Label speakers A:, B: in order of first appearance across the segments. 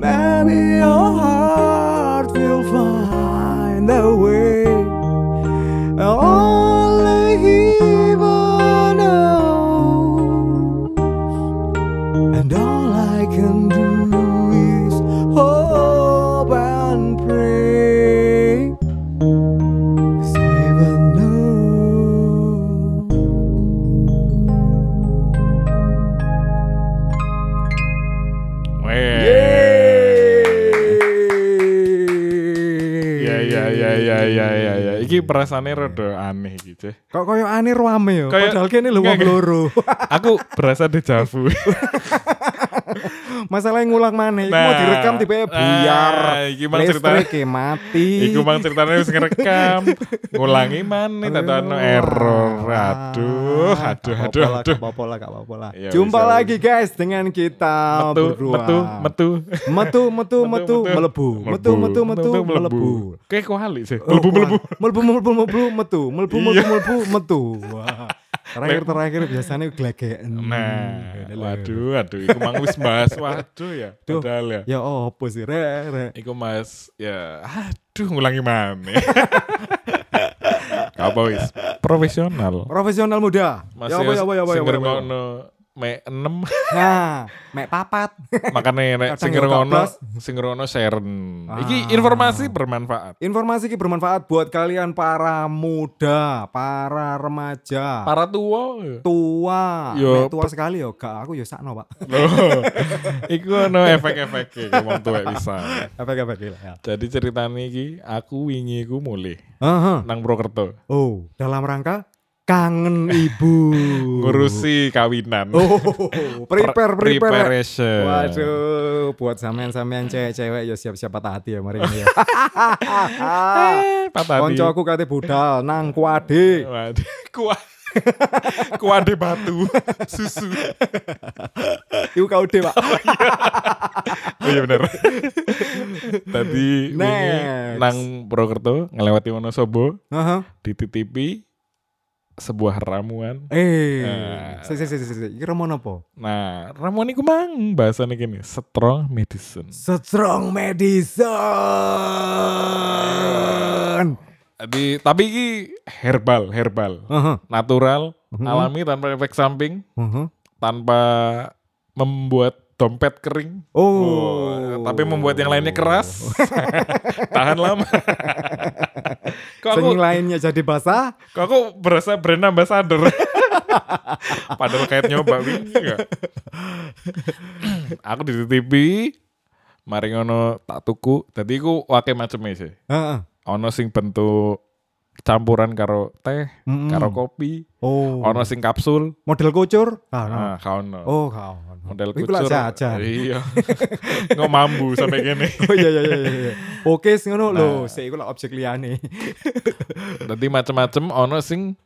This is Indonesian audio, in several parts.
A: Maybe your heart will find a way. Only heaven knows. And all I can do is hope and pray. 'Cause heaven knows.
B: Weh. Ya ya ya ya ya ya ya. Iki perasaannya rada aneh gitu.
A: Kok koyo aneh ruame yo.
B: Kayak-
A: Padahal kene lho wong
B: Nggak, nggak.
A: loro.
B: Aku berasa dejavu.
A: Masalahnya ngulang maneh. Iku mau
B: Nah,
A: direkam tipe
B: ah,
A: biar
B: iki mang
A: listrik e mati.
B: Iku mang ceritanya harus ngerekam, ngulangi mana tata no error. Aduh, aduh, aduh, aduh.
A: Gak Ah, apa-apa lah, gak apa-apa lah.
B: Ya,
A: Jumpa
B: bisa,
A: lagi guys dengan kita
B: Metu,
A: berdua.
B: metu, metu.
A: Metu, metu, ah. metu, melebu. Metu, metu, metu, melebu.
B: Kayak kuali sih.
A: Oh,
B: Melebu, melebu.
A: wah. Melebu, melebu, melebu, metu. Melebu,
B: Iya.
A: melebu, melebu, metu. Wah. Terakhir-terakhir biasanya glegeken.
B: Nah,
A: Lele.
B: waduh, aduh, iku mang wis bahas, waduh ya,
A: Hmm, Duh.
B: padahal ya.
A: Ya opo sih, re, re.
B: Iku mas, ya, aduh, ngulangi mana? Apa wis? Profesional.
A: Profesional muda.
B: Mas
A: ya apa, ya apa, ya apa, ya
B: sing
A: apa, ya apa.
B: ngrungokno me 6
A: Nah, mek papat.
B: makane nek
A: Kadang
B: sing
A: yo
B: ngrungokno
A: koblos.
B: sing ngrungokno sharen.
A: Ah.
B: Iki informasi bermanfaat.
A: Informasi ini bermanfaat buat kalian para muda, para remaja,
B: Para ya. tua
A: tua. Mek
B: Yo,
A: tua sekali yo, gak aku yo sakno, Pak.
B: lho. Iku ono efek-efek e, ngomong tuwek bisa.
A: Apa-apa gila ya.
B: Jadi ceritane iki aku wingi iku mulih
A: Aha.
B: nang Prokerto
A: Oh, dalam rangka kangen ibu.
B: ngurusi kawinan.
A: Oh, prepare,
B: Per-
A: prepare.
B: preparation.
A: Waduh, buat sampean-sampean cewek-cewek ya siap-siap patah hati ya mari ini ya.
B: Eh, patah hati.
A: Konco aku kate budal nang kuade.
B: Waduh, kuah. Kuade batu, susu.
A: Iku kaude, Pak.
B: Oh iya bener. Tadi
A: Next.
B: wingi nang Purwokerto ngelewati Wonosobo
A: Aha.
B: dititipi sebuah ramuan.
A: Eh,
B: Eh.
A: sik sik sik sik, sik. Iki romo nopo?
B: Nah, ramuan iku mang bahasane gini, strong medicine.
A: Strong medicine.
B: Jadi, tapi iki herbal, herbal.
A: Aha.
B: Natural,
A: Mhm.
B: alami tanpa efek samping,
A: aha.
B: tanpa membuat dompet kering.
A: Oh.
B: tapi membuat yang lainnya keras. Tahan lama. Kok aku
A: Sing lainnya jadi basah.
B: Kok aku berasa brand ambassador? Padahal kayak nyoba wingi gak? aku di TV mari ngono tak tuku. Dadi iku wake maceme sih.
A: Heeh.
B: Ono sing bentuk campuran karo teh,
A: Mm-mm.
B: karo kopi,
A: Hmm. Oh.
B: ono sing kapsul.
A: Model kucur? Ah, no.
B: Nah, kaono.
A: Oh, kawan.
B: Model
A: Iku lah
B: kucur.
A: jajan.
B: Iya. Nggak mambu sampai gini.
A: Oh iya iya iya iya. iya. Oke, sing ngono lho,
B: Nah.
A: sik iku lah objek liyane.
B: Dadi macem-macem ono sing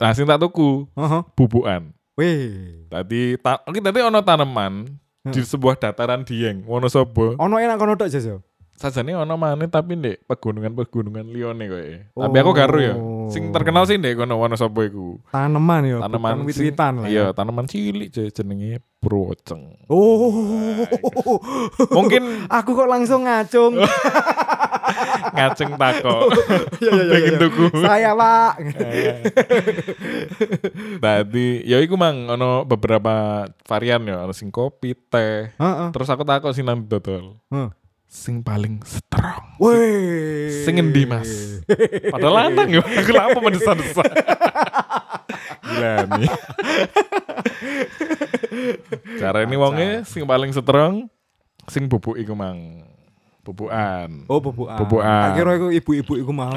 B: nah sing tak tuku
A: Heeh.
B: bubukan.
A: Weh.
B: Tadi ta oke, tadi ono tanaman
A: Hmm.
B: di sebuah dataran Dieng, Wonosobo.
A: Ono enak kono tok Jas.
B: Sajane ono maneh tapi ndek pegunungan-pegunungan liyane koyo.
A: Oh.
B: Tapi aku karo ya. Sing terkenal sih ndek kono Wonosobo iku.
A: Tanaman yo,
B: Tanaman
A: bukan
B: sing-
A: wit-witan lah.
B: Iya,
A: ya.
B: tanaman cilik je- jenenge Purwoceng.
A: Oh.
B: Mungkin
A: Aku kok langsung ngacung.
B: ngaceng tako.
A: Iya iya
B: Pengen tuku.
A: Saya, Pak.
B: Eh. Tadi ya iku mang ono beberapa varian ya, ono sing kopi, teh.
A: Heeh.
B: Terus aku takok sing nang dodol.
A: Heeh.
B: Sing paling strong.
A: Weh.
B: Sing endi, Mas? Padahal lanang ya, aku lah apa mendesa-desa. Gila nih. Cara ini wongnya sing paling strong, sing bubuk iku mang. Bubukan.
A: Oh, boboan.
B: Bobokan.
A: Akhirnya aku ibu-ibu iku mau.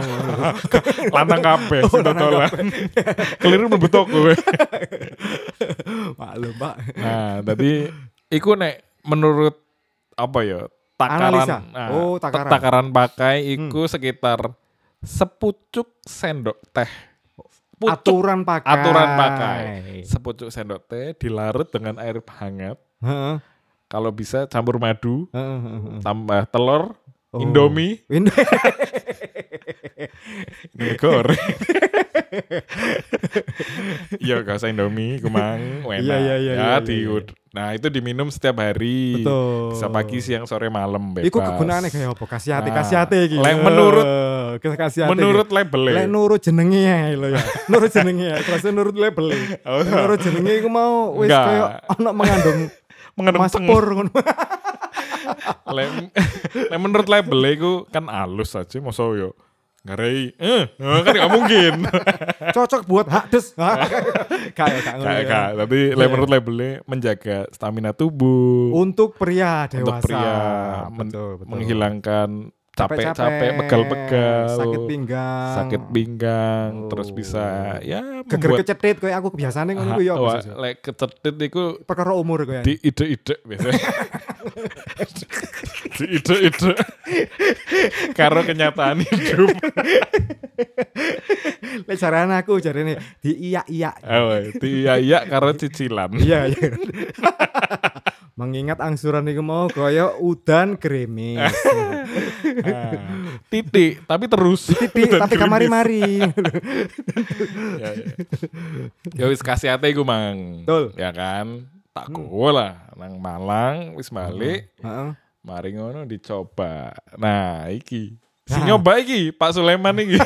B: Lanang kabeh
A: Oh,
B: sing dodolan. Keliru mlebu toko.
A: Maklum, Pak.
B: Nah, tadi iku nek menurut apa ya? Takaran.
A: Analisa.
B: nah,
A: Oh, takaran.
B: takaran pakai iku sekitar sepucuk sendok teh. Pucuk
A: Aturan pakai.
B: aturan pakai sepucuk sendok teh dilarut dengan air hangat
A: Heeh.
B: kalau bisa campur madu
A: Heeh. heeh, heeh.
B: tambah telur
A: Oh.
B: Indomie,
A: Indo-
B: Indomie goreng. Iya, gak usah Indomie, kumang, enak.
A: Iya, iya, iya,
B: Ya,
A: iya,
B: di-
A: iya.
B: Nah, itu diminum setiap hari.
A: Betul.
B: Bisa pagi, siang, sore, malam, bebas.
A: Iku kegunaannya kayak apa? Kasih hati,
B: Nah,
A: kasih hati iki.
B: lek menurut-
A: Eh, kasih hati.
B: Menurut
A: iki. lek
B: label e.
A: nurut jenenge ya lho ya. Nurut jenenge ya, terus nurut label.
B: Oh.
A: Nurut jenenge iku mau wis
B: Enggak.
A: kayak ono mengandung
B: Mengandung
A: Mas
B: teng.
A: Pur ngono.
B: Lek lek menurut label iku kan halus aja masa yo ngarei. Eh, eh, kan gak mungkin.
A: Cocok buat hak des. Kayak kayak ngono.
B: Gak,
A: ya.
B: gak. Tapi lek menurut labelnya menjaga stamina tubuh.
A: Untuk pria Uh, dewasa.
B: untuk pria men-
A: Betul, betul.
B: menghilangkan capek-capek, pegal-pegal,
A: sakit pinggang. Hmm.
B: sakit pinggang,
A: Oh.
B: terus bisa ya
A: geger
B: membuat
A: kecetit kayak aku biasanya ngono
B: Ah,
A: ku ya. apa
B: wah,
A: sih?
B: lek kecetit iku
A: Perkara umur kayak.
B: di ide-ide biasanya. di ide-ide karo kenyataan hidup.
A: Lek jarane aku jarene di iya-iya.
B: Oh, di iya karo cicilan.
A: Iya, iya. Mengingat angsuran iku mau kaya udan gerimis.
B: Ah, titik, tapi terus.
A: Titik tapi kamari-mari.
B: ya, ya. ya wis kasih ate iku mang.
A: Betul.
B: Ya kan? Tak gowo lah nang Malang wis balik.
A: Heeh.
B: Mari ngono dicoba. Nah, iki. Si
A: Nah.
B: nyoba iki Pak Sulaiman iki.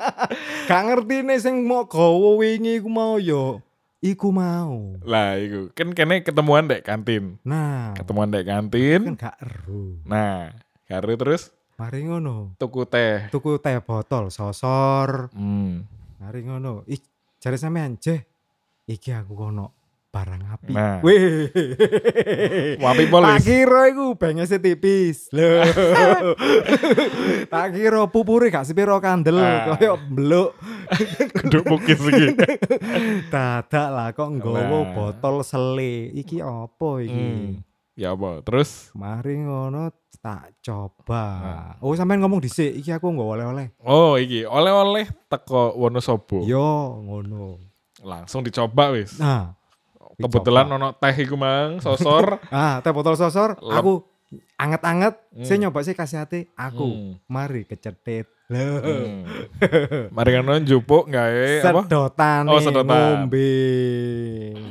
A: Gak ngerti nih sing mau gowo wingi iku mau yo. Iku mau.
B: lah, iku. Kan kene ketemuan dek kantin.
A: Nah,
B: Ketemuan dek
A: kan
B: kantin.
A: gak eru.
B: Nah, karo terus
A: Mari ngono.
B: tuku teh.
A: Tuku teh botol sosor.
B: Hmm.
A: Mari ngono. Ih, jare sampean jeh. Iki aku kono barang api.
B: Nah.
A: Wih.
B: Wapi
A: Tak
B: polis.
A: kira iku bengese tipis. Lho. tak kira pupure gak sepiro kandel
B: Ah.
A: koyo bluk.
B: Duduk bukit iki.
A: Dadak lah kok nggawa
B: Nah.
A: botol sele. Iki apa iki?
B: Hmm. Ya apa? Terus
A: Mari ngono tak coba.
B: Ah.
A: Oh, sampean ngomong dhisik, iki aku nggak oleh-oleh.
B: oh iki oleh-oleh teko Wonosobo.
A: Yo, ngono.
B: Langsung dicoba wis.
A: Nah,
B: Kebetulan ono teh iku mang sosor.
A: ah, teh botol sosor
B: Lep.
A: aku anget-anget,
B: Hmm.
A: saya nyoba sih kasih hati aku.
B: Hmm.
A: Mari kecetit. Loh.
B: Hmm. Mari ngono njupuk gawe Eh, apa?
A: sedotan
B: Oh, sedotan.
A: ngombe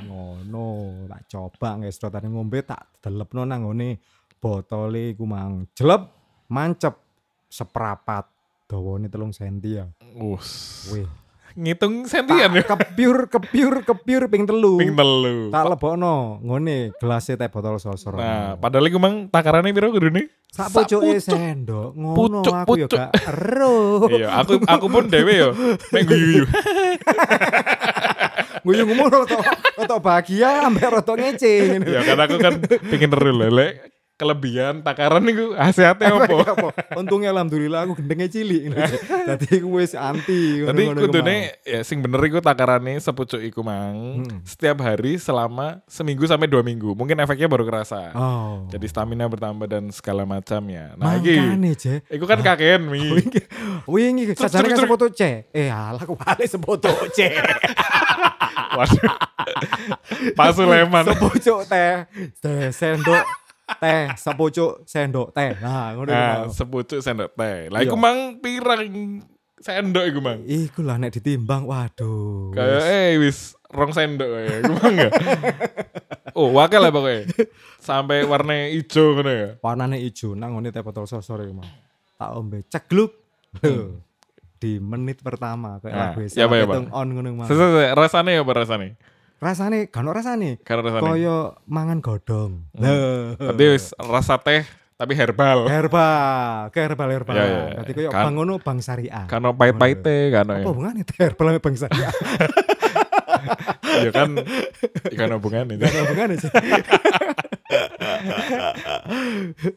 A: ngono tak coba nggak sedotan ngombe tak delepno nang ngene botole iku mang jelep mancep seprapat dawane telung senti ya
B: Us.
A: wih
B: Ngitung sentian ya.
A: tak kepiur kepiur kepiur ping telu
B: Ping telu.
A: tak lebokno ngene gelas teh botol sosor
B: Nah, padahal iku mang takarane piro kudune?
A: sak ya,
B: Sak
A: pucuke
B: pucuk.
A: sendok ngono
B: Pucuk,
A: aku ya
B: pucuk.
A: gak ero
B: Iya, aku aku pun dhewe yo. Mek guyu-guyu.
A: guyu ngomong rotok rotok bahagia ambek rotok ngece ngene.
B: Ya karena aku kan pingin ero lele kelebihan takaran niku hasiate opo?
A: apa? Untungnya alhamdulillah aku gendengnya cilik. Tadi aku wis anti.
B: Tadi
A: ngono-ngono
B: kudune ya sing bener iku takarane sepucuk iku mang
A: Hmm.
B: setiap hari selama seminggu sampai dua minggu. Mungkin efeknya baru kerasa.
A: kemau. Oh.
B: Jadi stamina bertambah dan segala macam ya. Nah, iki
A: Makane je.
B: iku kan kakek mi.
A: Wingi wingi sajane kan
B: terus.
A: sepoto C. Eh alah aku balik sepoto C.
B: Waduh. Pak Sulaiman.
A: Sepucuk teh, teh sendok teh, sepucuk sendok teh. Nah, ngono
B: Nah,
A: iku.
B: sepucuk sendok teh. Lah
A: Iya.
B: iku mang pirang sendok iku mang.
A: Iku lah nek ditimbang waduh.
B: Kayak eh wis rong sendok ya. Iku mang ya. Oh, wakil lah pokoknya. Sampai warna ijo ngono ya.
A: warnane ijo nang ngene teh botol sosor iku mau. Tak ombe cegluk.
B: Hmm.
A: Loh, Di menit pertama kayak
B: Nah,
A: lagu
B: iya, Pak, iya, Pak.
A: Hitung on ngono mau.
B: Sese sese, rasane ya apa rasane?
A: rasane gak ono rasane
B: Karena rasane.
A: kaya mangan godhong
B: Hmm.
A: Lho.
B: Tapi wis rasa teh tapi herbal.
A: herbal ke herbal herbal
B: Ya, ya, ya.
A: berarti kaya
B: Kan-
A: bang ngono bang syariah
B: Kano pahit-pahite
A: apa
B: kano ya.
A: hubungannya teh herbal sama bang syariah
B: Ya kan ikan hubungan
A: Gak
B: itu.
A: ada hubungannya sih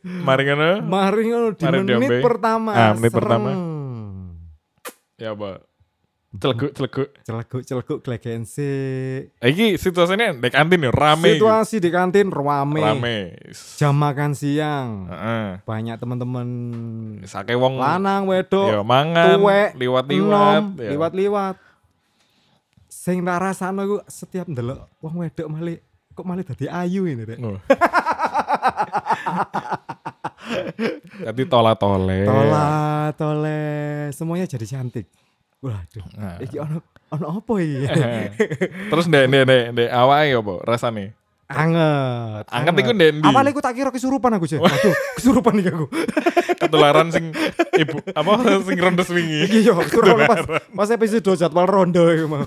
B: Mari ngono.
A: mari ngono di
B: Mari
A: menit
B: diombe.
A: pertama
B: Ah, menit pertama.
A: serem.
B: Ya apa? Celeguk-celeguk.
A: celeguk celeguk glegen sik.
B: Iki situasinya dek kantin ya rame. gitu.
A: situasi di kantin rame.
B: Rame. Ah.
A: jam makan siang
B: Heeh.
A: banyak teman-teman
B: Sake wong
A: lanang wedok
B: ya mangan
A: tuwek,
B: Hmm. liwat-liwat
A: enom,
B: ya.
A: liwat-liwat. Sing tak rasakno iku setiap ndelok wong wedok malih kok malih dadi ayu ini rek.
B: Nuh. Ganti tola-tole.
A: Tola, tole, semuanya jadi cantik. Waduh,
B: Nah.
A: iki ono ono apa iki?
B: Terus ndek ndek ndek ndek awake apa rasane?
A: Anget.
B: Anget iku ndek ndi?
A: Awalnya aku tak kira kesurupan aku sih. Waduh, kesurupan iki aku.
B: Ketularan sing ibu apa sing rondes wingi.
A: Iki yo kesurupan pas pas episode jadwal rondo iku mau.
B: Nah,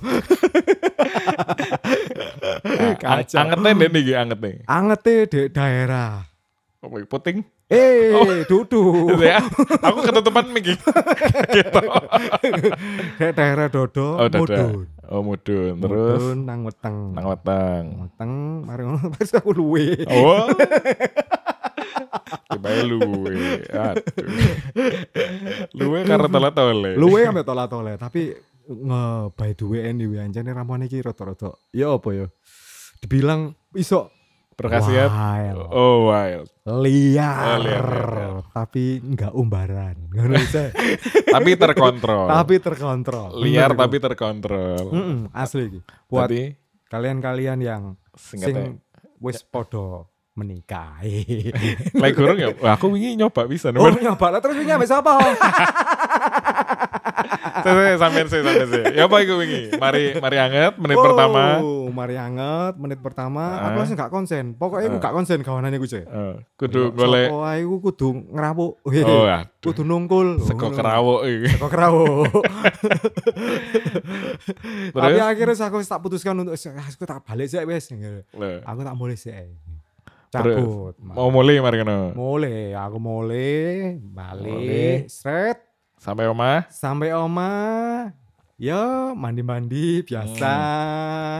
B: ang-
A: Kacau.
B: Angete ndek ndi iki angete?
A: Angete di daerah.
B: Apa iki, puting?
A: Eh, duduk.
B: Ya, aku ketutupan mic iki. Gitu.
A: Di daerah Dodo,
B: Oh, dadah.
A: Mudun.
B: Oh, mudun. Terus
A: Mudun nang weteng.
B: nang weteng.
A: Weteng, mari ngono pas aku luwe.
B: Oh. Coba ya luwe. Aduh. Luwe karena telat tole.
A: luwe ambek tola tole tapi nge by the way anyway anjane ramone iki rada-rada ya apa ya dibilang iso
B: Berkhasiat.
A: wild,
B: Oh, wild.
A: liar,
B: Oh, liar, liar, liar.
A: tapi nggak umbaran ngono bisa
B: Tapi terkontrol.
A: tapi terkontrol
B: Oh. liar
A: Bener,
B: tapi terkontrol.
A: Bu. Mm-mm, asli iki buat
B: Tapi
A: kalian-kalian yang
B: singkatnya
A: sing wis
B: Ya.
A: podo menikah
B: Lek gorong ya. Wah, aku wingi nyoba bisa.
A: Oh
B: Oh.
A: nyoba lah terus wingi ambek sapa?
B: Sampean sih, sampean sih. Ya apa iku wingi? Mari mari anget menit pertama.
A: Oh, mari anget menit pertama
B: Ah.
A: aku langsung gak konsen. Pokoknya aku
B: Ah.
A: gak konsen kawanane ku Cek.
B: Eh, kudu golek
A: Sopo ae ku kudu ngerawuk.
B: Oh, aduh.
A: kudu nungkul.
B: sego kerawok iki.
A: Seko kerawuk. Tapi
B: Terus
A: akhirnya aku tak putuskan untuk "Ah, aku tak balik sih gitu. wes.
B: lho,
A: Aku tak mulai sih. eh.
B: Terus, Oh.
A: Cabut.
B: mau mulai mari ngono.
A: Mulai, aku mulai,
B: Mulai.
A: balik, seret,
B: Sampai omah.
A: sampai oma, ya mandi-mandi biasa.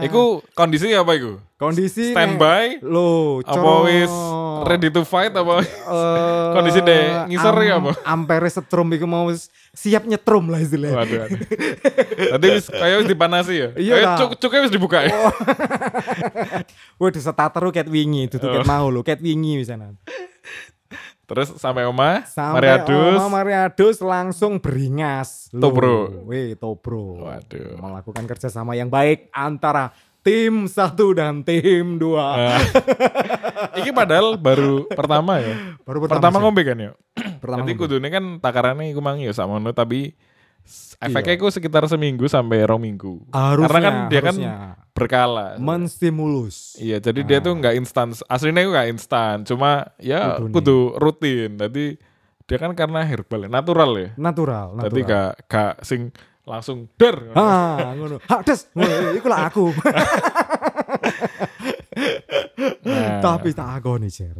A: Ah.
B: Hmm. Iku kondisi apa iku?
A: kondisi
B: Standby
A: lo
B: apa wis ready to fight apa? Kondisi deh, ngisor ya
A: Eh,
B: apa?
A: Ampere setrum iku mau wis siap nyetrum lah istilahnya.
B: Waduh. waduh. Tadi wis kayak wis dipanasi ya.
A: Iya,
B: Kayak
A: lah. Oh.
B: cuk cuknya wis dibuka ya.
A: Waduh setateru cat wingi, dudu
B: Oh.
A: cat mau lho, cat wingi misalnya.
B: Terus sampai omah, mari
A: Sampai
B: adus.
A: Oma Mariadus langsung beringas. Lho,
B: Tobro.
A: Weh, Tobro.
B: Waduh.
A: Gitu. Melakukan kerjasama yang baik antara tim satu dan tim dua.
B: Ah. Iki padahal baru pertama ya.
A: Baru
B: Pertama,
A: sih.
B: ngombe kan ya.
A: pertama
B: Jadi
A: ngombe.
B: kudune kan takarannya iku mang ya sakmono tapi s- efeknya iku sekitar seminggu sampai rong minggu.
A: Iya. harusnya,
B: Karena kan dia kan
A: harusnya.
B: berkala.
A: menstimulus.
B: iya, jadi dia
A: Ah.
B: tuh nggak instan. Aslinya itu nggak instan, cuma ya
A: Kudune.
B: kudu rutin. Jadi dia kan karena herbal, ya, natural ya.
A: Natural, natural.
B: Jadi gak gak sing langsung der.
A: Ah, ngono. Hak des. Ngono, Iku lah aku.
B: Nah.
A: Tapi tak agoni jer.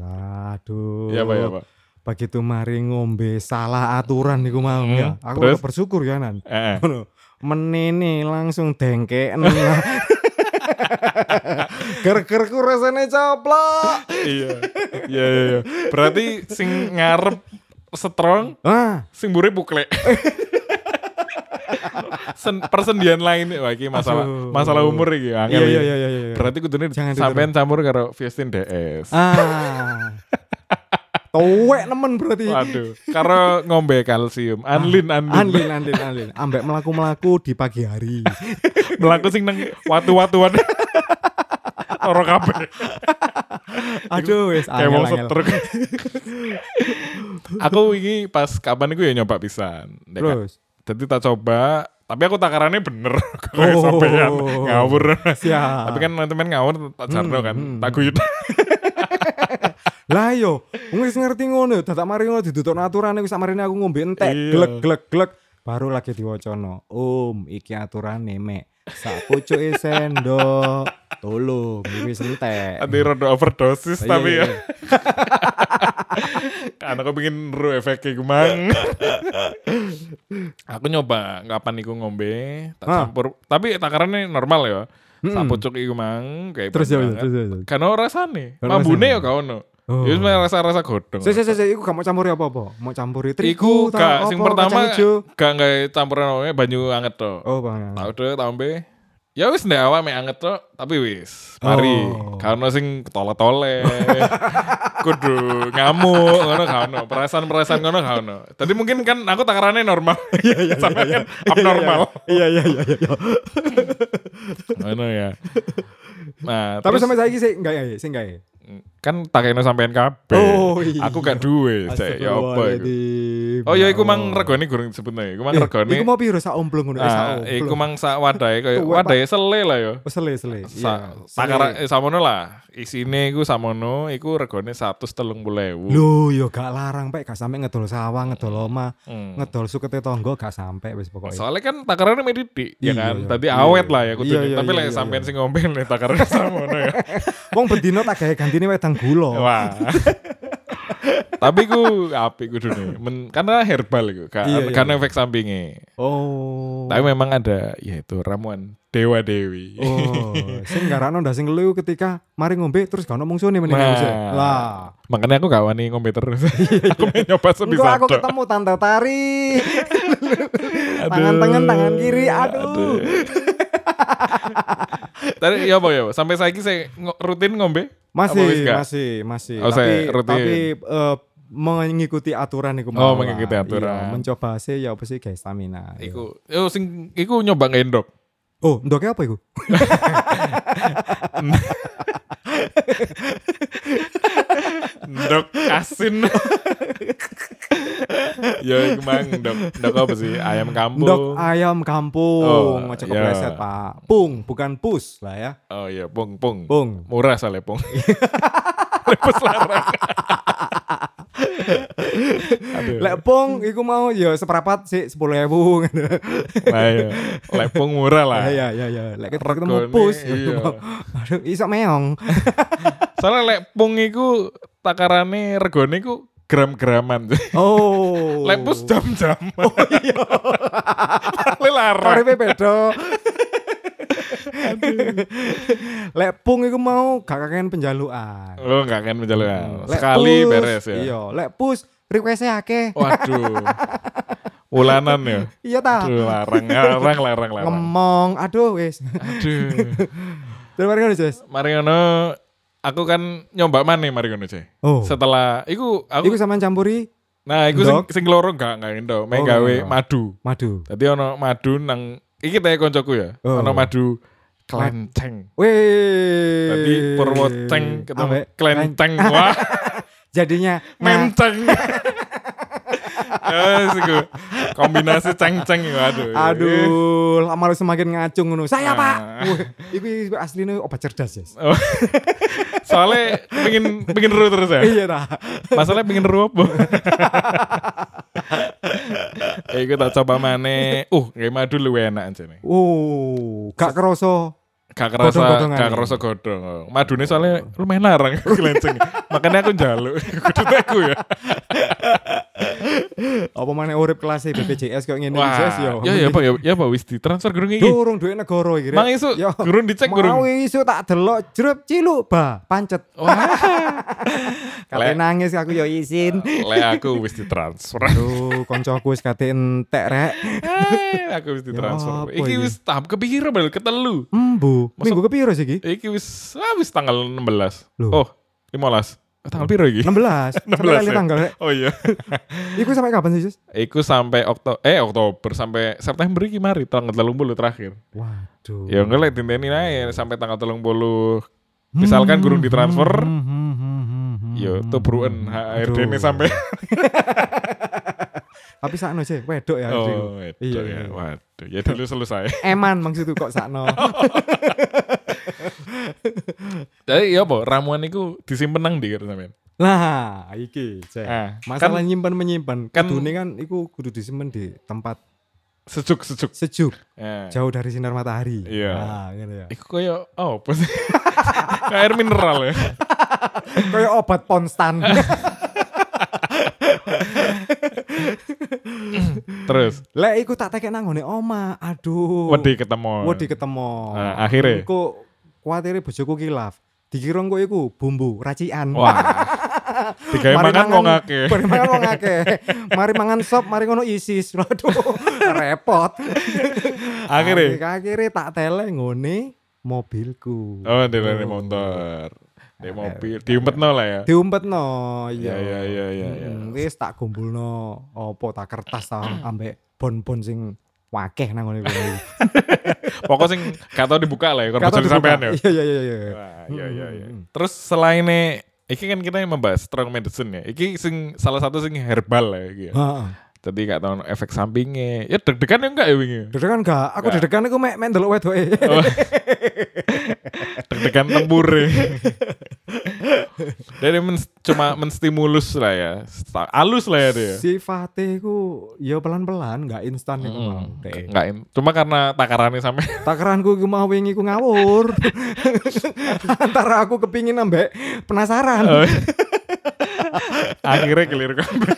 A: Aduh.
B: Iya, Pak, iya, Pak.
A: Begitu mari ngombe salah aturan niku mau ya. Aku
B: terus?
A: udah bersyukur ya nan.
B: Eh, eh.
A: Ngono. Menene langsung dengkeken. Ger-gerku rasane coplok.
B: iya. Iya, iya, iya. Berarti sing ngarep strong
A: Ah,
B: sing mburi pukle. Sen, persendian lain wah iki masalah
A: Aduh.
B: masalah umur iki angel.
A: iya iya
B: iki.
A: iya iya. iya.
B: Berarti kudune
A: Jangan
B: sampean campur karo Fiestin DS.
A: Ah. Tuwek nemen berarti.
B: Waduh, karo ngombe kalsium, anlin
A: Ah,
B: anlin.
A: Andin, andin, andin. Ambek melaku-melaku di pagi hari.
B: Melaku sing nang watu-watuan. Ora kabeh.
A: Aduh, wes
B: Kayak
A: angel,
B: wong
A: angel.
B: setruk. Aku iki pas kapan iku ya nyoba pisan. Nek gak-
A: Terus.
B: Jadi tak coba, tapi aku takarannya bener. Kayak
A: Oh.
B: sopean, ngawur.
A: Siap. Hmm,
B: tapi kan teman ngawur tak jarno kan, tak guyut.
A: Lah yo, wis ngerti ngono, dadak mari ngono ditutukno aturane wis samarine aku ngombe entek,
B: Iya.
A: glek glek glek baru lagi diwacana. Om, iki aturane mek sak pucuke sendok. Tolong, iki wis entek.
B: Nanti rada overdosis
A: Iya,
B: tapi
A: iya,
B: ya. Karena aku pengen ru efeknya gumang. aku nyoba kapan iku ngombe, tak
A: Ah.
B: campur. Tapi takarannya normal ya. Sak pucuk iku mang kayak
A: Terus ya,
B: banget.
A: terus ya, terus.
B: Kan ora rasane.
A: Ora
B: Mambune
A: rasane.
B: ya gak ono.
A: Oh.
B: Ya wis rasa-rasa godhong.
A: Sik sik sik, sik, iku gak mau campuri apa-apa. Mau campuri
B: Iku
A: terigu,
B: gak
A: tak
B: sing
A: apa, kacang
B: pertama
A: ijo.
B: gak gak campuran apa banyu anget tok.
A: Oh, Bang.
B: Tau deh tambe. Ya wis ndek awak mek anget tok, tapi wis. Mari,
A: Oh.
B: gak ono sing ketole-tole. Kudu ngamuk ngono gak ono. Perasaan-perasaan ngono gak ono. Tadi mungkin kan aku takarannya normal. Iya iya kan abnormal.
A: Iya iya iya iya.
B: Ngono ya. Nah,
A: Tapi
B: terus
A: sampai saiki sik enggak ya, sik enggak ya.
B: kan takeno sampean kabeh.
A: Oh, iya.
B: Aku gak duwe, Cek. Ya apa iku? Oh ya iku mang regone gurung sebutne. Iku mang
A: Eh,
B: regone.
A: Iku mau piro sak omplung ngono, eh, sak
B: Ah, iku
A: omplung.
B: mang sak wadahe koyo
A: Tuwek, Pak.
B: wadahe sele lah ya. yo.
A: Oh, sele sele.
B: Sa,
A: Iya, sele.
B: takara eh, samono lah. Isine iku samono iku regane 130.000.
A: Lho, yo gak larang pek, gak sampe ngedol sawah, ngedol omah,
B: Hmm.
A: ngedol sukete tangga gak sampe wis pokoke.
B: Soalnya kan takarannya medidik
A: oh,
B: ya
A: Iya,
B: kan.
A: iya.
B: Tadi
A: Iya,
B: awet
A: iya.
B: lah ya kudu.
A: Iya, iya,
B: Tapi
A: iya,
B: lek
A: iya,
B: sampean sing ngomben lek takarannya samono ya.
A: Wong bendino tak gawe gantine wedang gula.
B: Wah. Tapi ku apik kudune. Men, karena herbal iku, kan,
A: Iya, iya,
B: karena
A: iya.
B: efek sampingnya.
A: Oh.
B: Tapi memang ada yaitu ramuan Dewa Dewi.
A: Oh, sing garano ndak sing liu ketika mari ngombe terus gak ono mungsune meneh
B: Nah.
A: mungsune. Lah.
B: Makanya aku gak wani ngombe terus. aku pengen nyoba sebisa
A: Enggak Iya, aku
B: tok.
A: ketemu tante tari.
B: Aduh.
A: tangan tangan tangan kiri. Aduh.
B: Tadi ya apa ya? Pak? Sampai saiki saya ngo- rutin ngombe?
A: Masih,
B: Apa wis gak?
A: masih, masih.
B: Oh, saya
A: tapi
B: rutin.
A: tapi eh, mengikuti aturan iku
B: Oh,
A: mawar.
B: mengikuti
A: Iya,
B: aturan.
A: mencoba sih ya apa sih guys stamina. Iya.
B: Iku, yo sing iku nyoba ngendok.
A: Oh, ndoke apa iku?
B: Ndok asin. Yo iku mang ndok, ndok apa sih? Ayam kampung.
A: Ndok ayam
B: Oh,
A: kampung. Ngocok
B: iya.
A: kepleset, Pak. Pung, bukan pus lah ya.
B: Oh iya, pung pung.
A: Pung.
B: Murah soalnya pung. Lepes larang. Aduh.
A: Lek pung iku mau ya seperapat sih 10.000 gitu.
B: Lah iya. Lek pung murah
A: Ah,
B: lah.
A: iya iya iya. Lek kita ketemu
B: Regone,
A: pus.
B: iya.
A: Aduh, iso meong.
B: Soalnya lek pung iku takarane regone iku gram-graman.
A: Oh.
B: Lek pus jam-jam. Oh
A: iya.
B: larang.
A: Karipe beda. Lek pung iku mau gak kakean penjalukan.
B: Lo gak kan menjalan.
A: Lek
B: Sekali
A: pus,
B: beres ya. Oh.
A: Iya, lek pus request-e akeh.
B: Waduh. Ulanan ya.
A: Iya ta.
B: Aduh, larang, larang, larang, larang.
A: Ngomong, aduh wis.
B: Aduh.
A: Terus mari ngono, Jess.
B: Mariono, aku kan nyoba maneh Mariono, Cek.
A: Oh.
B: Setelah iku aku
A: Iku sampean campuri
B: nah iku sing
A: Ndok.
B: sing loro gak gak
A: Oh,
B: endo, main
A: gak
B: gawe
A: endo.
B: madu.
A: madu.
B: Tadi ono madu nang iki teh koncoku ya.
A: Oh.
B: Ono madu klenceng.
A: Wih.
B: Tadi Purwoteng ketemu
A: Eh. Ambek
B: klenceng. Wah,
A: Jadinya nah,
B: memceng. Yes, iku. Eh, Kombinasi ceng-ceng ya, aduh.
A: Aduh, lama lu semakin ngacung ngono. Saya,
B: Ah.
A: Pak. Wih, iku asline obat cerdas, Jess.
B: Oh. Soalnya pengen pengen ru terus ya.
A: Iya ta.
B: Masalahnya pengen ruwet. eh, gue tak coba mana. Uh, kayak madu lu enak aja nih.
A: Oh, gak kerasa.
B: Gak kerasa,
A: Godong-godongan
B: gak
A: nih.
B: kerasa godong. Madu nih soalnya lumayan larang kelenceng. Makanya aku jaluk. Kudu aku ya.
A: Apa mana urip kelas e BPJS kok ngene
B: Wah,
A: Jess yo.
B: ya ya pak, ya, ya pak wis di transfer gerung ini.
A: Durung duwe negara iki. Rek.
B: Mang isu,
A: Yo.
B: gurun dicek
A: Mau
B: gurun.
A: isu tak delok jrep ciluk ba, pancet.
B: Wah,
A: Kate
B: Lek.
A: nangis aku yo izin.
B: le aku wis di transfer.
A: Duh, koncoku wis kate entek rek.
B: Eh, aku wis di transfer.
A: Ya apa
B: Iki
A: ini?
B: wis tahap kepikir balik ketelu.
A: Embu,
B: Masa-
A: minggu kepiro sih iki?
B: Iki wis ah, wis tanggal 16.
A: Loh.
B: Oh, 15. Eh, Tanggal piro iki?
A: 16. Sampai
B: 16,
A: kali
B: ya?
A: tanggal rek.
B: Oh iya.
A: Iku sampai kapan sih, Jess?
B: Iku sampai Oktober, eh Oktober sampai September iki mari tanggal 30 terakhir.
A: Waduh.
B: Ya enggak lah dinteni ae sampai tanggal 30. Misalkan kan gurung ditransfer, Iya. ya,
A: Hmm, hmm, hmm, hmm, hmm.
B: yo tebruan HRD ini
A: Aduh.
B: sampai
A: Tapi sakno sih, wedok ya. Jess, iku.
B: Oh, itu
A: Iya,
B: ya.
A: iya.
B: Waduh, ya dulu selesai.
A: Eman maksudku kok sakno.
B: Jadi ya apa ramuan iku disimpen nang ndi kira sampean?
A: Lah, iki, Cek.
B: Ah,
A: Eh, Masalah
B: kan
A: nyimpen menyimpan.
B: kan-
A: Kan kan iku kudu disimpen di tempat
B: sejuk-sejuk.
A: sejuk,
B: Eh.
A: jauh dari sinar matahari.
B: Iya.
A: Nah, gitu ya.
B: Iku koyo oh, apa sih? Kayak air mineral ya.
A: Kayak obat ponstan.
B: Terus
A: Lek iku tak tekek nang ngone oma. Aduh.
B: wedi ketemu.
A: Wedi ketemu.
B: Nah, akhirnya?
A: Engko kuatire bojoku kilaf. Dikira engko iku bumbu racikan.
B: Wah. Digawe
A: Mari
B: mangan wong akeh.
A: Mari mangan wong akeh. Mari mangan sop, mari ngono isis. Waduh, repot.
B: Akhirnya
A: akhirnya tak tele ngone mobilku.
B: Oh, di dari motor. Di mobil, diumpetno lah ya.
A: diumpetno iya
B: Ya, ya, ya, ya, ya.
A: Mm, wis tak gumpulno opo tak kertas ta ambek bon-bon sing wakeh nang ngene kuwi
B: Pokoknya sing gak tau dibuka lah ya
A: Kata
B: korporasi
A: dibuka.
B: sampean ya.
A: Iya iya iya iya.
B: Wah, iya iya iya.
A: Hmm.
B: Terus selainnya iki kan kita yang membahas strong medicine ya. Iki sing salah satu sing herbal lah ya iki ya.
A: Heeh.
B: Jadi gak tau efek sampingnya. Ya deg-degan ya enggak ya wingi.
A: Dedekan gak? Aku
B: Nggak.
A: dedekan aku mek mek ndelok wedoke.
B: Deg-degan tempur ya. Jadi men- cuma menstimulus lah ya. Sta- Alus lah ya dia.
A: Sifate ku ya pelan-pelan gak instan iku mau.
B: Hmm, enggak, in- cuma karena takarannya sampai
A: Takaranku ku mau wingi ku ngawur. Antara aku kepingin ambek
B: Oh,
A: penasaran.
B: iya. akhirnya clear kabeh.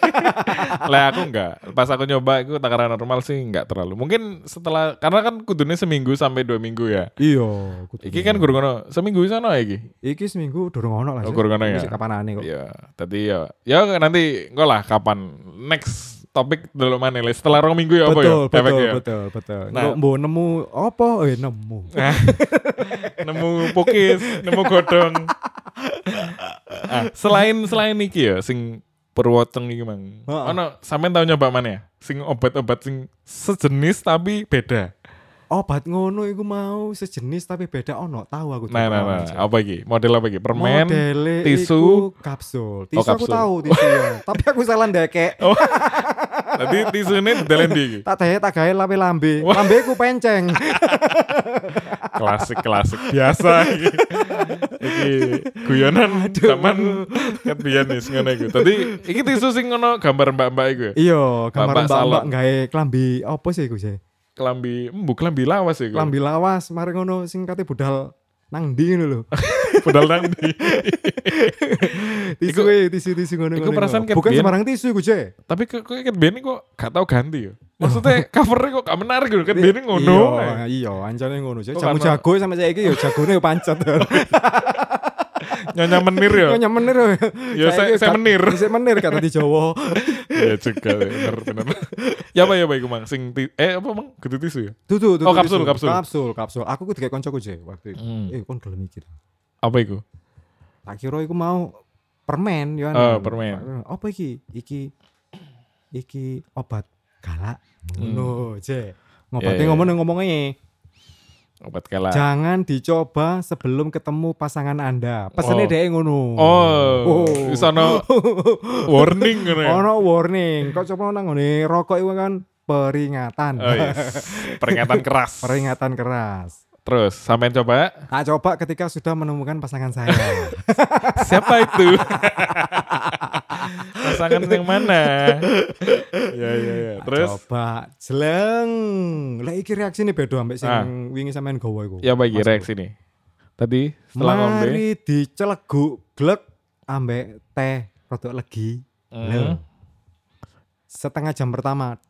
B: lah aku enggak. Pas aku nyoba aku takaran normal sih enggak terlalu. Mungkin setelah karena kan kudunya seminggu sampai dua minggu ya.
A: Iya, kudu.
B: Iki kan guru ngono, seminggu sana iki.
A: iki seminggu durung ono lah.
B: Oh,
A: sih.
B: durung ono ya?
A: Wis Kapanane kok.
B: Ya, tadi ya. Ya nanti engko lah kapan next topik dulu mana Le. setelah rong minggu ya apa ya?
A: Betul, betul,
B: Efeknya ya?
A: betul, betul.
B: Nah.
A: Nah, mbok nemu apa? Eh nemu.
B: Nah, nemu pukis, nemu godong. Ah, selain selain iki ya sing perwoteng iki mang.
A: Heeh.
B: Ono sampean tau nyoba mana ya? Sing obat-obat sing sejenis tapi beda.
A: Obat ngono iku mau sejenis tapi beda ono, tahu aku.
B: Nah, nah, nah. Apa iki? Model apa iki? Permen,
A: Modele
B: tisu. Oh,
A: iku kapsul. Tisu aku
B: kapsul.
A: tahu tisu ya. Tapi aku salah ndekek.
B: Tadi tisune dalam iki.
A: Tak teh tak gawe lambe-lambe. Lambe ku penceng.
B: Klasik klasik biasa iki. Iki guyonan zaman kebian nih sing ngono iku. Tadi iki tisu sing ngono gambar mbak-mbak iku ya.
A: Iya,
B: Bapak
A: gambar
B: salon.
A: mbak-mbak gawe klambi apa sih iku sih?
B: Kelambi, embu kelambi lawas iku.
A: Klambi lawas, mari ngono sing kate budal nang ndi ngono lho.
B: Pedal nangdi.
A: Tisu e, tisu-tisu ngono.
B: iku perasaan kayak
A: Bukan
B: biyen-
A: sembarang tisu iku, Cek.
B: Tapi kok kok Cat Beni kok gak tau ganti ya. Maksudnya covernya kok gak menarik gitu. Cat Beni ngono.
A: Iya, iya, ancane ngono, Cek.
B: Kok
A: Jamu
B: karena-
A: jago sampe saiki ya jagone ya pancet.
B: Nyonya menir ya.
A: Yo nyemenir.
B: Ya, saya- saya menir.
A: Saya menir kata di Jawa.
B: Iya juga bener bener. Ya apa ya apa iku mang sing ti- eh apa mang gede tisu ya.
A: Tuh tuh tuh.
B: Oh,
A: tuh,
B: kapsul,
A: tisu.
B: kapsul.
A: Kapsul, kapsul. Aku kudu kayak koncoku, Cek, waktu itu.
B: Hmm.
A: Eh, kon gelem iki.
B: Apa iku?
A: Tak kira iku mau permen yo. anu.
B: Oh, permen.
A: Apa iki? Iki iki obat galak. Ngono, Cek.
B: Hmm. Iya,
A: Ngobati
B: iya.
A: ngomong ngomongnya
B: Obat kelak.
A: jangan dicoba sebelum ketemu pasangan anda pesennya
B: Oh.
A: dhek ngono
B: Oh,
A: Oh.
B: di sana warning gitu ya.
A: ono warning kok coba nang ngene rokok itu kan peringatan
B: Oh, yes. Peringatan keras.
A: peringatan keras
B: Terus sampean coba
A: tak coba ketika sudah menemukan pasangan saya
B: siapa itu? Pasangan yang mana? ya ya ya.
A: Tak
B: Terus
A: coba jeleng lah iki reaksi nih beda ambek sing
B: Ah.
A: wingi sampean gowo iku
B: ya bagi
A: Mas
B: reaksi nih. Tadi setelah ngombe.
A: mari diceleguk glek ambek teh rodok legi
B: Hmm.
A: Lho. setengah jam pertama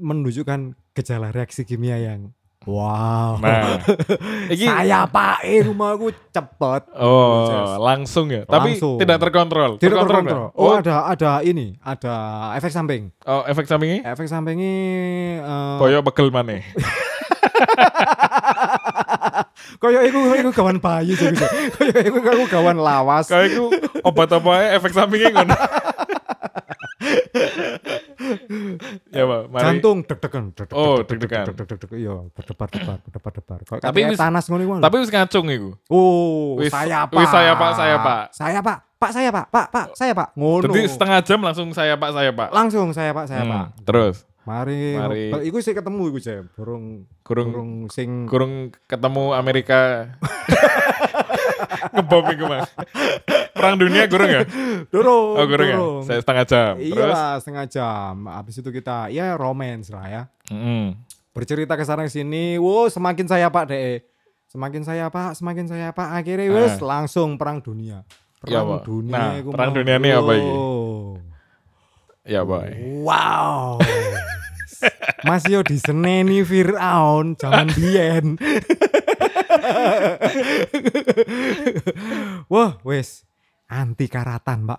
A: menunjukkan gejala reaksi kimia yang wow
B: Nah, iki
A: saya pak eh rumahku cepet
B: oh langsung ya, tapi
A: Langsung.
B: tidak terkontrol.
A: tidak
B: Terkontrol
A: terkontrol
B: nggak?
A: oh
B: Oh,
A: ada ada ini ada efek samping
B: oh, efek sampingnya?
A: efek sampingnya eh,
B: Koyo pegel maneh.
A: Kaya iku iku kawan bayu jadi. Kaya iku aku kawan lawas.
B: Kayak itu obat apa ya efek sampingnya ngono. ya pak, mari.
A: Jantung deg-degan, deg-degan,
B: Oh, deg-degan.
A: deg-degan, deg-degan, iya, berdebar-debar, berdebar-debar. Kok
B: Tapi
A: kayak
B: wis-
A: tanas ngono iku.
B: Tapi wis ngacung iku.
A: oh,
B: wis-
A: saya pak.
B: wis saya, Pak, saya, Pak.
A: Saya pak, pak saya pak, pak, pak, saya pak. Ngono.
B: Jadi setengah jam langsung saya pak saya pak.
A: Langsung saya pak, saya
B: Hmm,
A: pak.
B: Terus
A: Mari,
B: Mari.
A: ngobrol. iku sih ketemu iku jam, burung
B: kurung
A: burung sing
B: kurung ketemu Amerika. Ngebom iku mas. Perang dunia kurung ya?
A: dorong.
B: Oh kurung ya. Saya setengah jam.
A: Iya
B: Terus.
A: lah setengah jam. Habis itu kita ya romance lah ya.
B: Mm-mm.
A: bercerita ke sana ke sini, wow semakin saya pak deh, semakin saya pak, semakin saya pak, akhirnya wes
B: Ah.
A: langsung perang dunia,
B: Iya,
A: perang
B: Pak.
A: dunia,
B: Nah,
A: iku
B: perang
A: mau.
B: dunia ini apa iki?
A: Wow.
B: Ya boy.
A: Wow, Mas yo diseneni Fir'aun zaman biyen. Wah, wes anti karatan, Pak.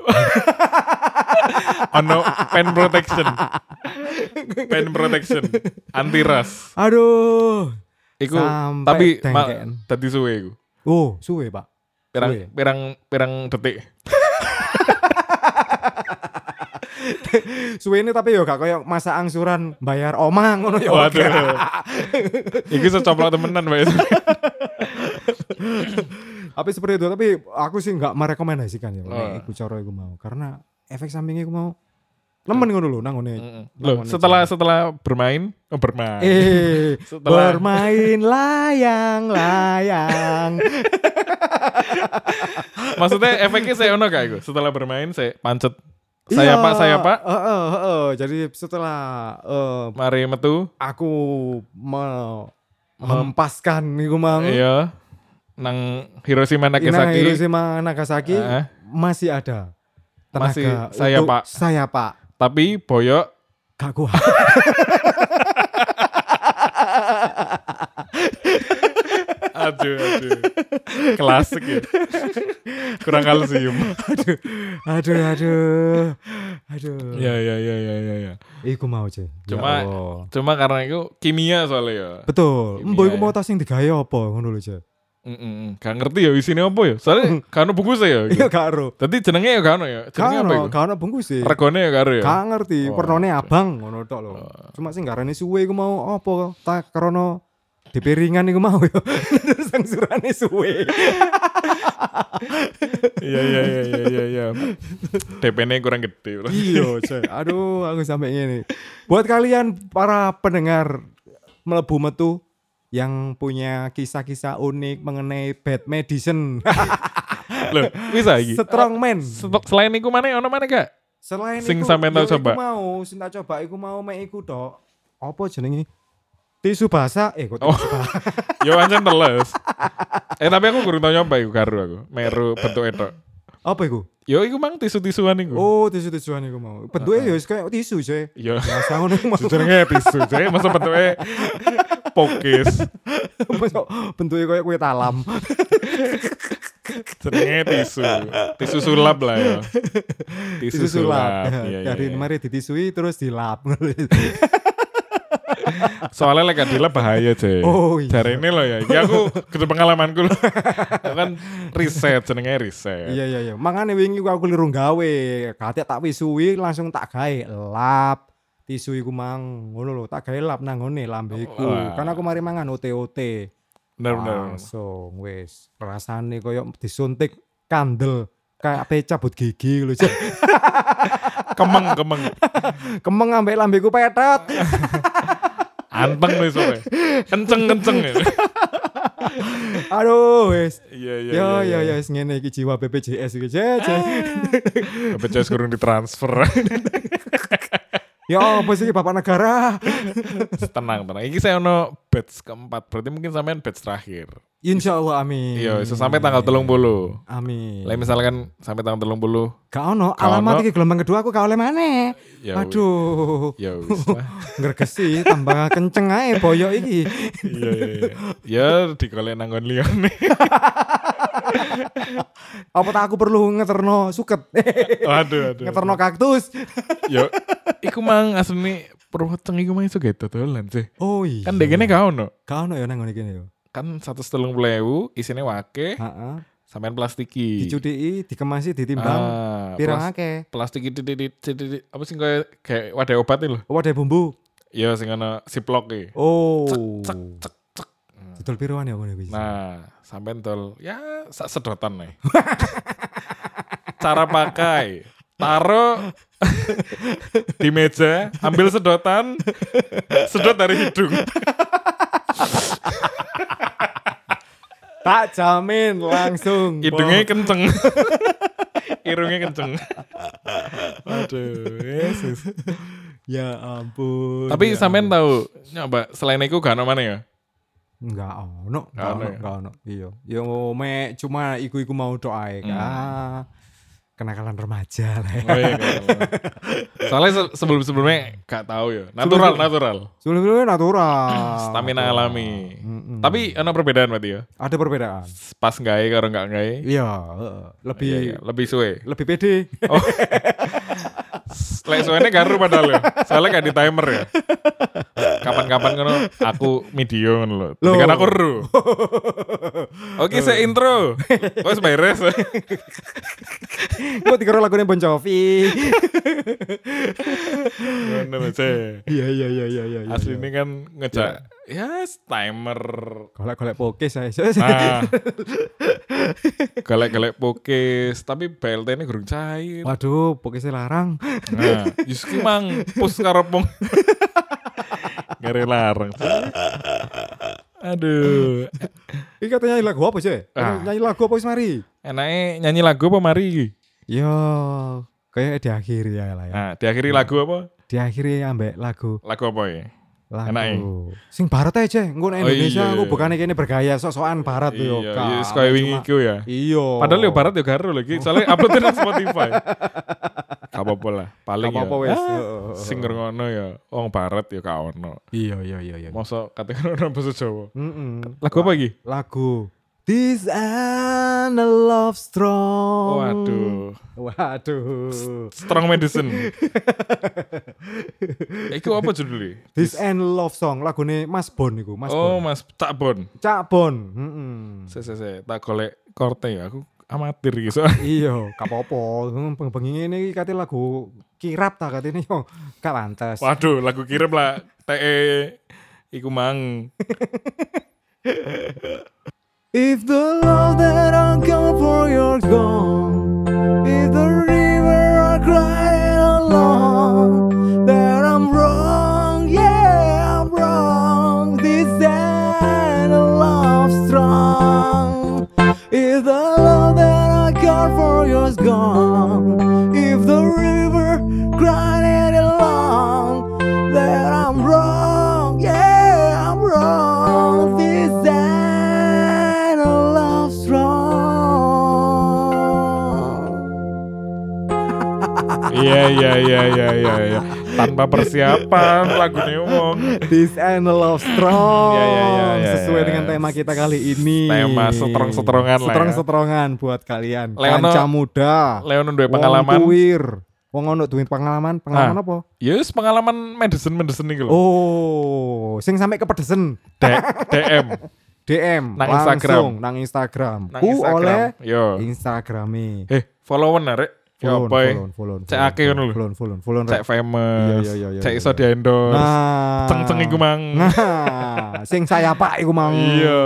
B: Ono pen protection. Pen protection. Anti ras.
A: Aduh.
B: Iku
A: Sampai
B: tapi ma,
A: dengken.
B: tadi suwe iku.
A: Oh, suwe, Pak.
B: Pirang
A: Suwe.
B: pirang pirang detik.
A: Suwene tapi yo gak koyo masa angsuran bayar omah ngono yo.
B: Waduh.
A: gak.
B: Iki secoplak temenan Pak.
A: Tapi seperti itu, tapi aku sih nggak merekomendasikan ya.
B: Oh.
A: Nek iku cara iku mau karena efek sampingnya iku mau nemen ngono lho nang ngene. Nang
B: Loh,
A: ngene
B: setelah setelah bermain, oh, bermain.
A: Eh,
B: Setelah-
A: bermain layang-layang.
B: Maksudnya efeknya saya ono kayak Setelah bermain saya pancet. Saya
A: Iya,
B: Pak, saya Pak.
A: eh, eh, eh, eh. Jadi setelah eh,
B: Mari metu.
A: aku me- mempaskan iku mang.
B: Iya. Nang Hiroshima
A: Inang
B: Nagasaki.
A: Hmm? Hiroshima Nagasaki
B: Heeh.
A: masih ada tenaga
B: Masih saya,
A: untuk
B: Pak.
A: saya Pak.
B: Tapi boyok
A: Gak kuat.
B: aduh aduh. Klasik ya. Kurang kalsium.
A: aduh, aduh, aduh, aduh.
B: Ya ya ya ya ya ya.
A: Iku mau cuy.
B: Cuma-
A: Ya Allah.
B: Cuma karena itu kimia soalnya ya.
A: betul.
B: Kimia
A: Mbok iku
B: ya.
A: mau tas sing digawe apa ngono lho, Cek.
B: Mm-mm. Gak ngerti ya isinya apa ya. Soalnya kan buku saya
A: Iya
B: ya.
A: gak ero.
B: Tadi jenenge ya kan ya. Jenenge apa
A: Kano,
B: ya?
A: kano bungkus sih.
B: Regone ya karo ya.
A: Gak ngerti,
B: Oh,
A: warnane
B: oke.
A: abang ngono tok lho. Cuma sing garane suwe iku mau "Oh, apa tak krono di piringan iku mau ya. Terus angsurane suwe.
B: Iya iya iya iya iya iya. DP-nya kurang gede. bro.
A: Iya, Cek. Aduh, aku sampai ngene. Buat kalian para pendengar melebu metu yang punya kisah-kisah unik mengenai bad medicine.
B: Loh, bisa iki.
A: Strongman.
B: Stok selain iku mana ono mana gak?
A: Selain
B: Sing
A: iku,
B: sampean
A: ya
B: tau
A: iku
B: coba.
A: mau, sing tak coba iku mau mek iku tok. Apa jenenge? Tisu basah. Eh, kok
B: Oh.
A: tisu basah.
B: Yo anjen teles. eh tapi aku kurang tau nyoba iku karo aku. Meru bentuk itu.
A: Apa iku?
B: Yo iku mang tisu-tisuan iku.
A: Oh, tisu-tisuan iku mau. Bentuke ya wis kayak tisu, Cek.
B: Yo
A: Biasa ngono iku mau.
B: jenenge tisu. Jadi masa bentuknya pokis.
A: Masuk Bentuke kayak kue talam.
B: Jenenge tisu. Tisu sulap lah ya.
A: Tisu sulap.
B: Iya, iya,
A: Dari
B: iya.
A: mari ditisui terus dilap.
B: Soalnya lek adila bahaya cuy.
A: Oh, iya.
B: Dari ini loh ya. Ini aku kudu pengalamanku loh. Aku kan riset jenenge riset.
A: Iya iya iya. Makane wingi ku aku liru gawe. Kate tak wisuwi langsung tak gawe lap. Tisu iku mang ngono lho, tak gawe lap nang ngene lambeku.
B: Wah.
A: Kan aku mari mangan OT-OT.
B: Bener bener.
A: Langsung wis. Rasane koyo disuntik kandel kayak ape cabut gigi lho. Cek.
B: Kemeng kemeng.
A: Kemeng ambek lambeku petet.
B: Anteng nih soalnya. Kenceng kenceng ya.
A: Aduh wis.
B: Iya iya.
A: Yo yo yo wis ya, ngene iki jiwa BPJS iki. Cek, cek.
B: Ah. BPJS kurang ditransfer.
A: Yo Ya, apa sih iki bapak negara?
B: tenang tenang. Iki saya ono batch keempat. Berarti mungkin sampean batch terakhir.
A: Insyaallah amin.
B: Iya. iso sampai tanggal telung bolu.
A: Amin.
B: Lah misalkan sampai tanggal telung bolu.
A: Gak ono,
B: Gak ono.
A: alamat iki gelombang kedua aku gak oleh maneh.
B: Ya wis.
A: Aduh,
B: Ya wis lah.
A: ngergesi tambah kenceng ae boyok iki.
B: Iya iya. iya. Ya digolek nang kon liyane.
A: Apa tak aku perlu ngeterno suket?
B: Aduh aduh.
A: ngeterno kaktus.
B: Yo, Ya, iku mang asline Purwoteng iku mang iso gawe dodolan sih.
A: Oh iya.
B: Kan dekene gak ono.
A: Gak ono ya nang ngene kene yo.
B: Kan 130.000 isine wake
A: Heeh.
B: sampean plastiki.
A: Dicudiki, dikemasi, ditimbang.
B: Iya. Ah,
A: Pirang
B: plas-
A: akeh.
B: plastiki titik apa sih kayak kayak wadah obat lho.
A: Oh, ada bumbu.
B: Ya sing ono siplok e.
A: Oh.
B: Cek cek cek.
A: Didol piruan ya ngono iki.
B: Nah, sampean tol ya sak sedotan nih. Cara pakai taruh di meja, ambil sedotan, sedot dari hidung.
A: Tak jamin langsung.
B: hidungnya kenceng irungnya kenceng aduh Yesus
A: ya ampun.
B: tapi
A: ya
B: sampean tahu nyoba selain itu gak ono mana ya
A: Enggak ono, enggak
B: Nggak ono
A: ono,
B: ya?
A: enggak ono. Iya. Ya mek cuma iku-iku mau tok ae.
B: Hmm.
A: Ah, kenakalan remaja lah. ya.
B: Oh, iya, nggak ono. soalnya se- sebelum-sebelumnya gak tahu ya natural natural
A: Sebelum-sebelumnya kan natural.
B: stamina alami
A: Mm-mm.
B: tapi ono perbedaan berarti ya
A: Ada perbedaan.
B: pas gawe karo gak gawe
A: Iya, heeh. lebih
B: Iya, iya, lebih suwe
A: lebih pede.
B: oh. S- Lek suwene garu padahal ya. Soalnya gak di timer ya. kapan-kapan ngono aku medio ngono lho.
A: Loh.
B: Dengan aku ru. Oke, saya intro. Wes beres.
A: Gue tiga lagunya Bon Jovi.
B: Ngono lho, saya.
A: Iya iya iya iya iya.
B: Asli ini kan ngejak ya yes, timer.
A: golek-golek poke saya.
B: Nah. Galak-galak pokis, tapi BLT ini gerung cair.
A: Waduh, pokoknya saya larang.
B: Nah, justru mang pus karo pong. Ngeri larang. Aduh,
A: Ini katanya nyanyi lagu apa sih?
B: Ah.
A: Nyanyi lagu apa sih mari?
B: enaknya nyanyi lagu apa mari iki?
A: Yo, kayak diakhiri ya lah ya.
B: Nah, diakhiri lagu apa?
A: Diakhiri ambek lagu
B: Lagu apa ya?
A: lagu.
B: Enake.
A: Sing barat aja, engko nek
B: Oh,
A: Indonesia
B: iya,
A: aku
B: iya.
A: bukannya kene bergaya sok-sokan barat yo.
B: Iya,
A: Kak.
B: iya, Sky Wing
A: Cuma-
B: iku ya.
A: Iya.
B: Padahal yo barat yo garo lagi, soalnya upload nang Spotify. Gak apa-apa lah, paling
A: Gak
B: ya.
A: apa-apa wes.
B: ah,
A: Heeh, heeh.
B: Sing ngono ya, wong barat ya gak ono.
A: Iya iya iya iya.
B: Mosok katakan orang bahasa Jawa.
A: Mm-mm.
B: Lagu apa iki?
A: Lagu This and a love strong.
B: Waduh.
A: Waduh.
B: Strong Medicine. Iku apa judulnya?
A: This and love song lagune Mas Bon iku, Mas
B: oh,
A: Bon.
B: Mas Cak Bon.
A: Cak Bon. Heeh.
B: Saya saya saya tak golek korte ya. Aku amatir gitu. soalnya.
A: Iya, kapopo. Bengi ini kate lagu kirap ta katene yo. Gak pantes.
B: Waduh, lagu kirim lah. TE iku mang.
A: If the love that I'm coming for you're gone If the river I crying along That I'm wrong, yeah I'm wrong This ain't a love strong If the love that I got for you's gone If the river crying along That I'm wrong, yeah I'm wrong This ain't a love strong
B: Iya iya iya iya iya iya. Tanpa persiapan lagu wong.
A: This ain't a love strong
B: Ya, ya, ya, ya,
A: Sesuai
B: ya.
A: dengan tema kita kali ini
B: Tema seterong-seterongan lah ya.
A: Seterong-seterongan buat kalian
B: Leono-
A: Kanca muda
B: Leon duwe
A: wong
B: pengalaman.
A: kuwir. Wong ono duwe pengalaman, pengalaman
B: Ah.
A: apa?
B: Yes, pengalaman medicine medicine iki lho.
A: Oh, sing sampai kepedesen.
B: D- DM
A: DM
B: Nang
A: langsung
B: Instagram.
A: nang Instagram.
B: nang
A: Ku Uh,
B: Instagram. Iya.
A: oleh
B: Yo.
A: Instagrame.
B: Eh, followan arek. Ya
A: Follow,
B: apa ya?
A: follow, follow,
B: Cek
A: follow,
B: ake ngono lho.
A: follow, follow, follow,
B: Cek
A: follow.
B: famous.
A: Iya, iya, iya,
B: Cek
A: iya,
B: iso
A: iya.
B: di-endorse.
A: Nah,
B: Ceng-ceng iku mang.
A: Nah, sing saya Pak iku mang.
B: Iya,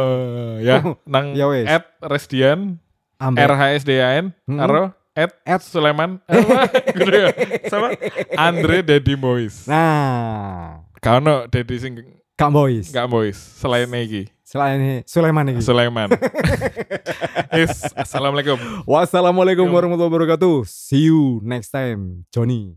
B: ya nang
A: Ya wes.
B: at Resdian
A: Ambek.
B: RHSDian
A: Mm-mm.
B: karo at
A: At.
B: Sulaiman eh, apa? Gitu ya. sama Andre Dedi Mois.
A: Nah,
B: Kau no Dedi sing
A: Kak Boys.
B: gak Mois selain iki
A: Selain ini Sulaiman iki.
B: Sulaiman. Yes, assalamualaikum.
A: Wassalamualaikum warahmatullahi wabarakatuh. See you next time, Johnny.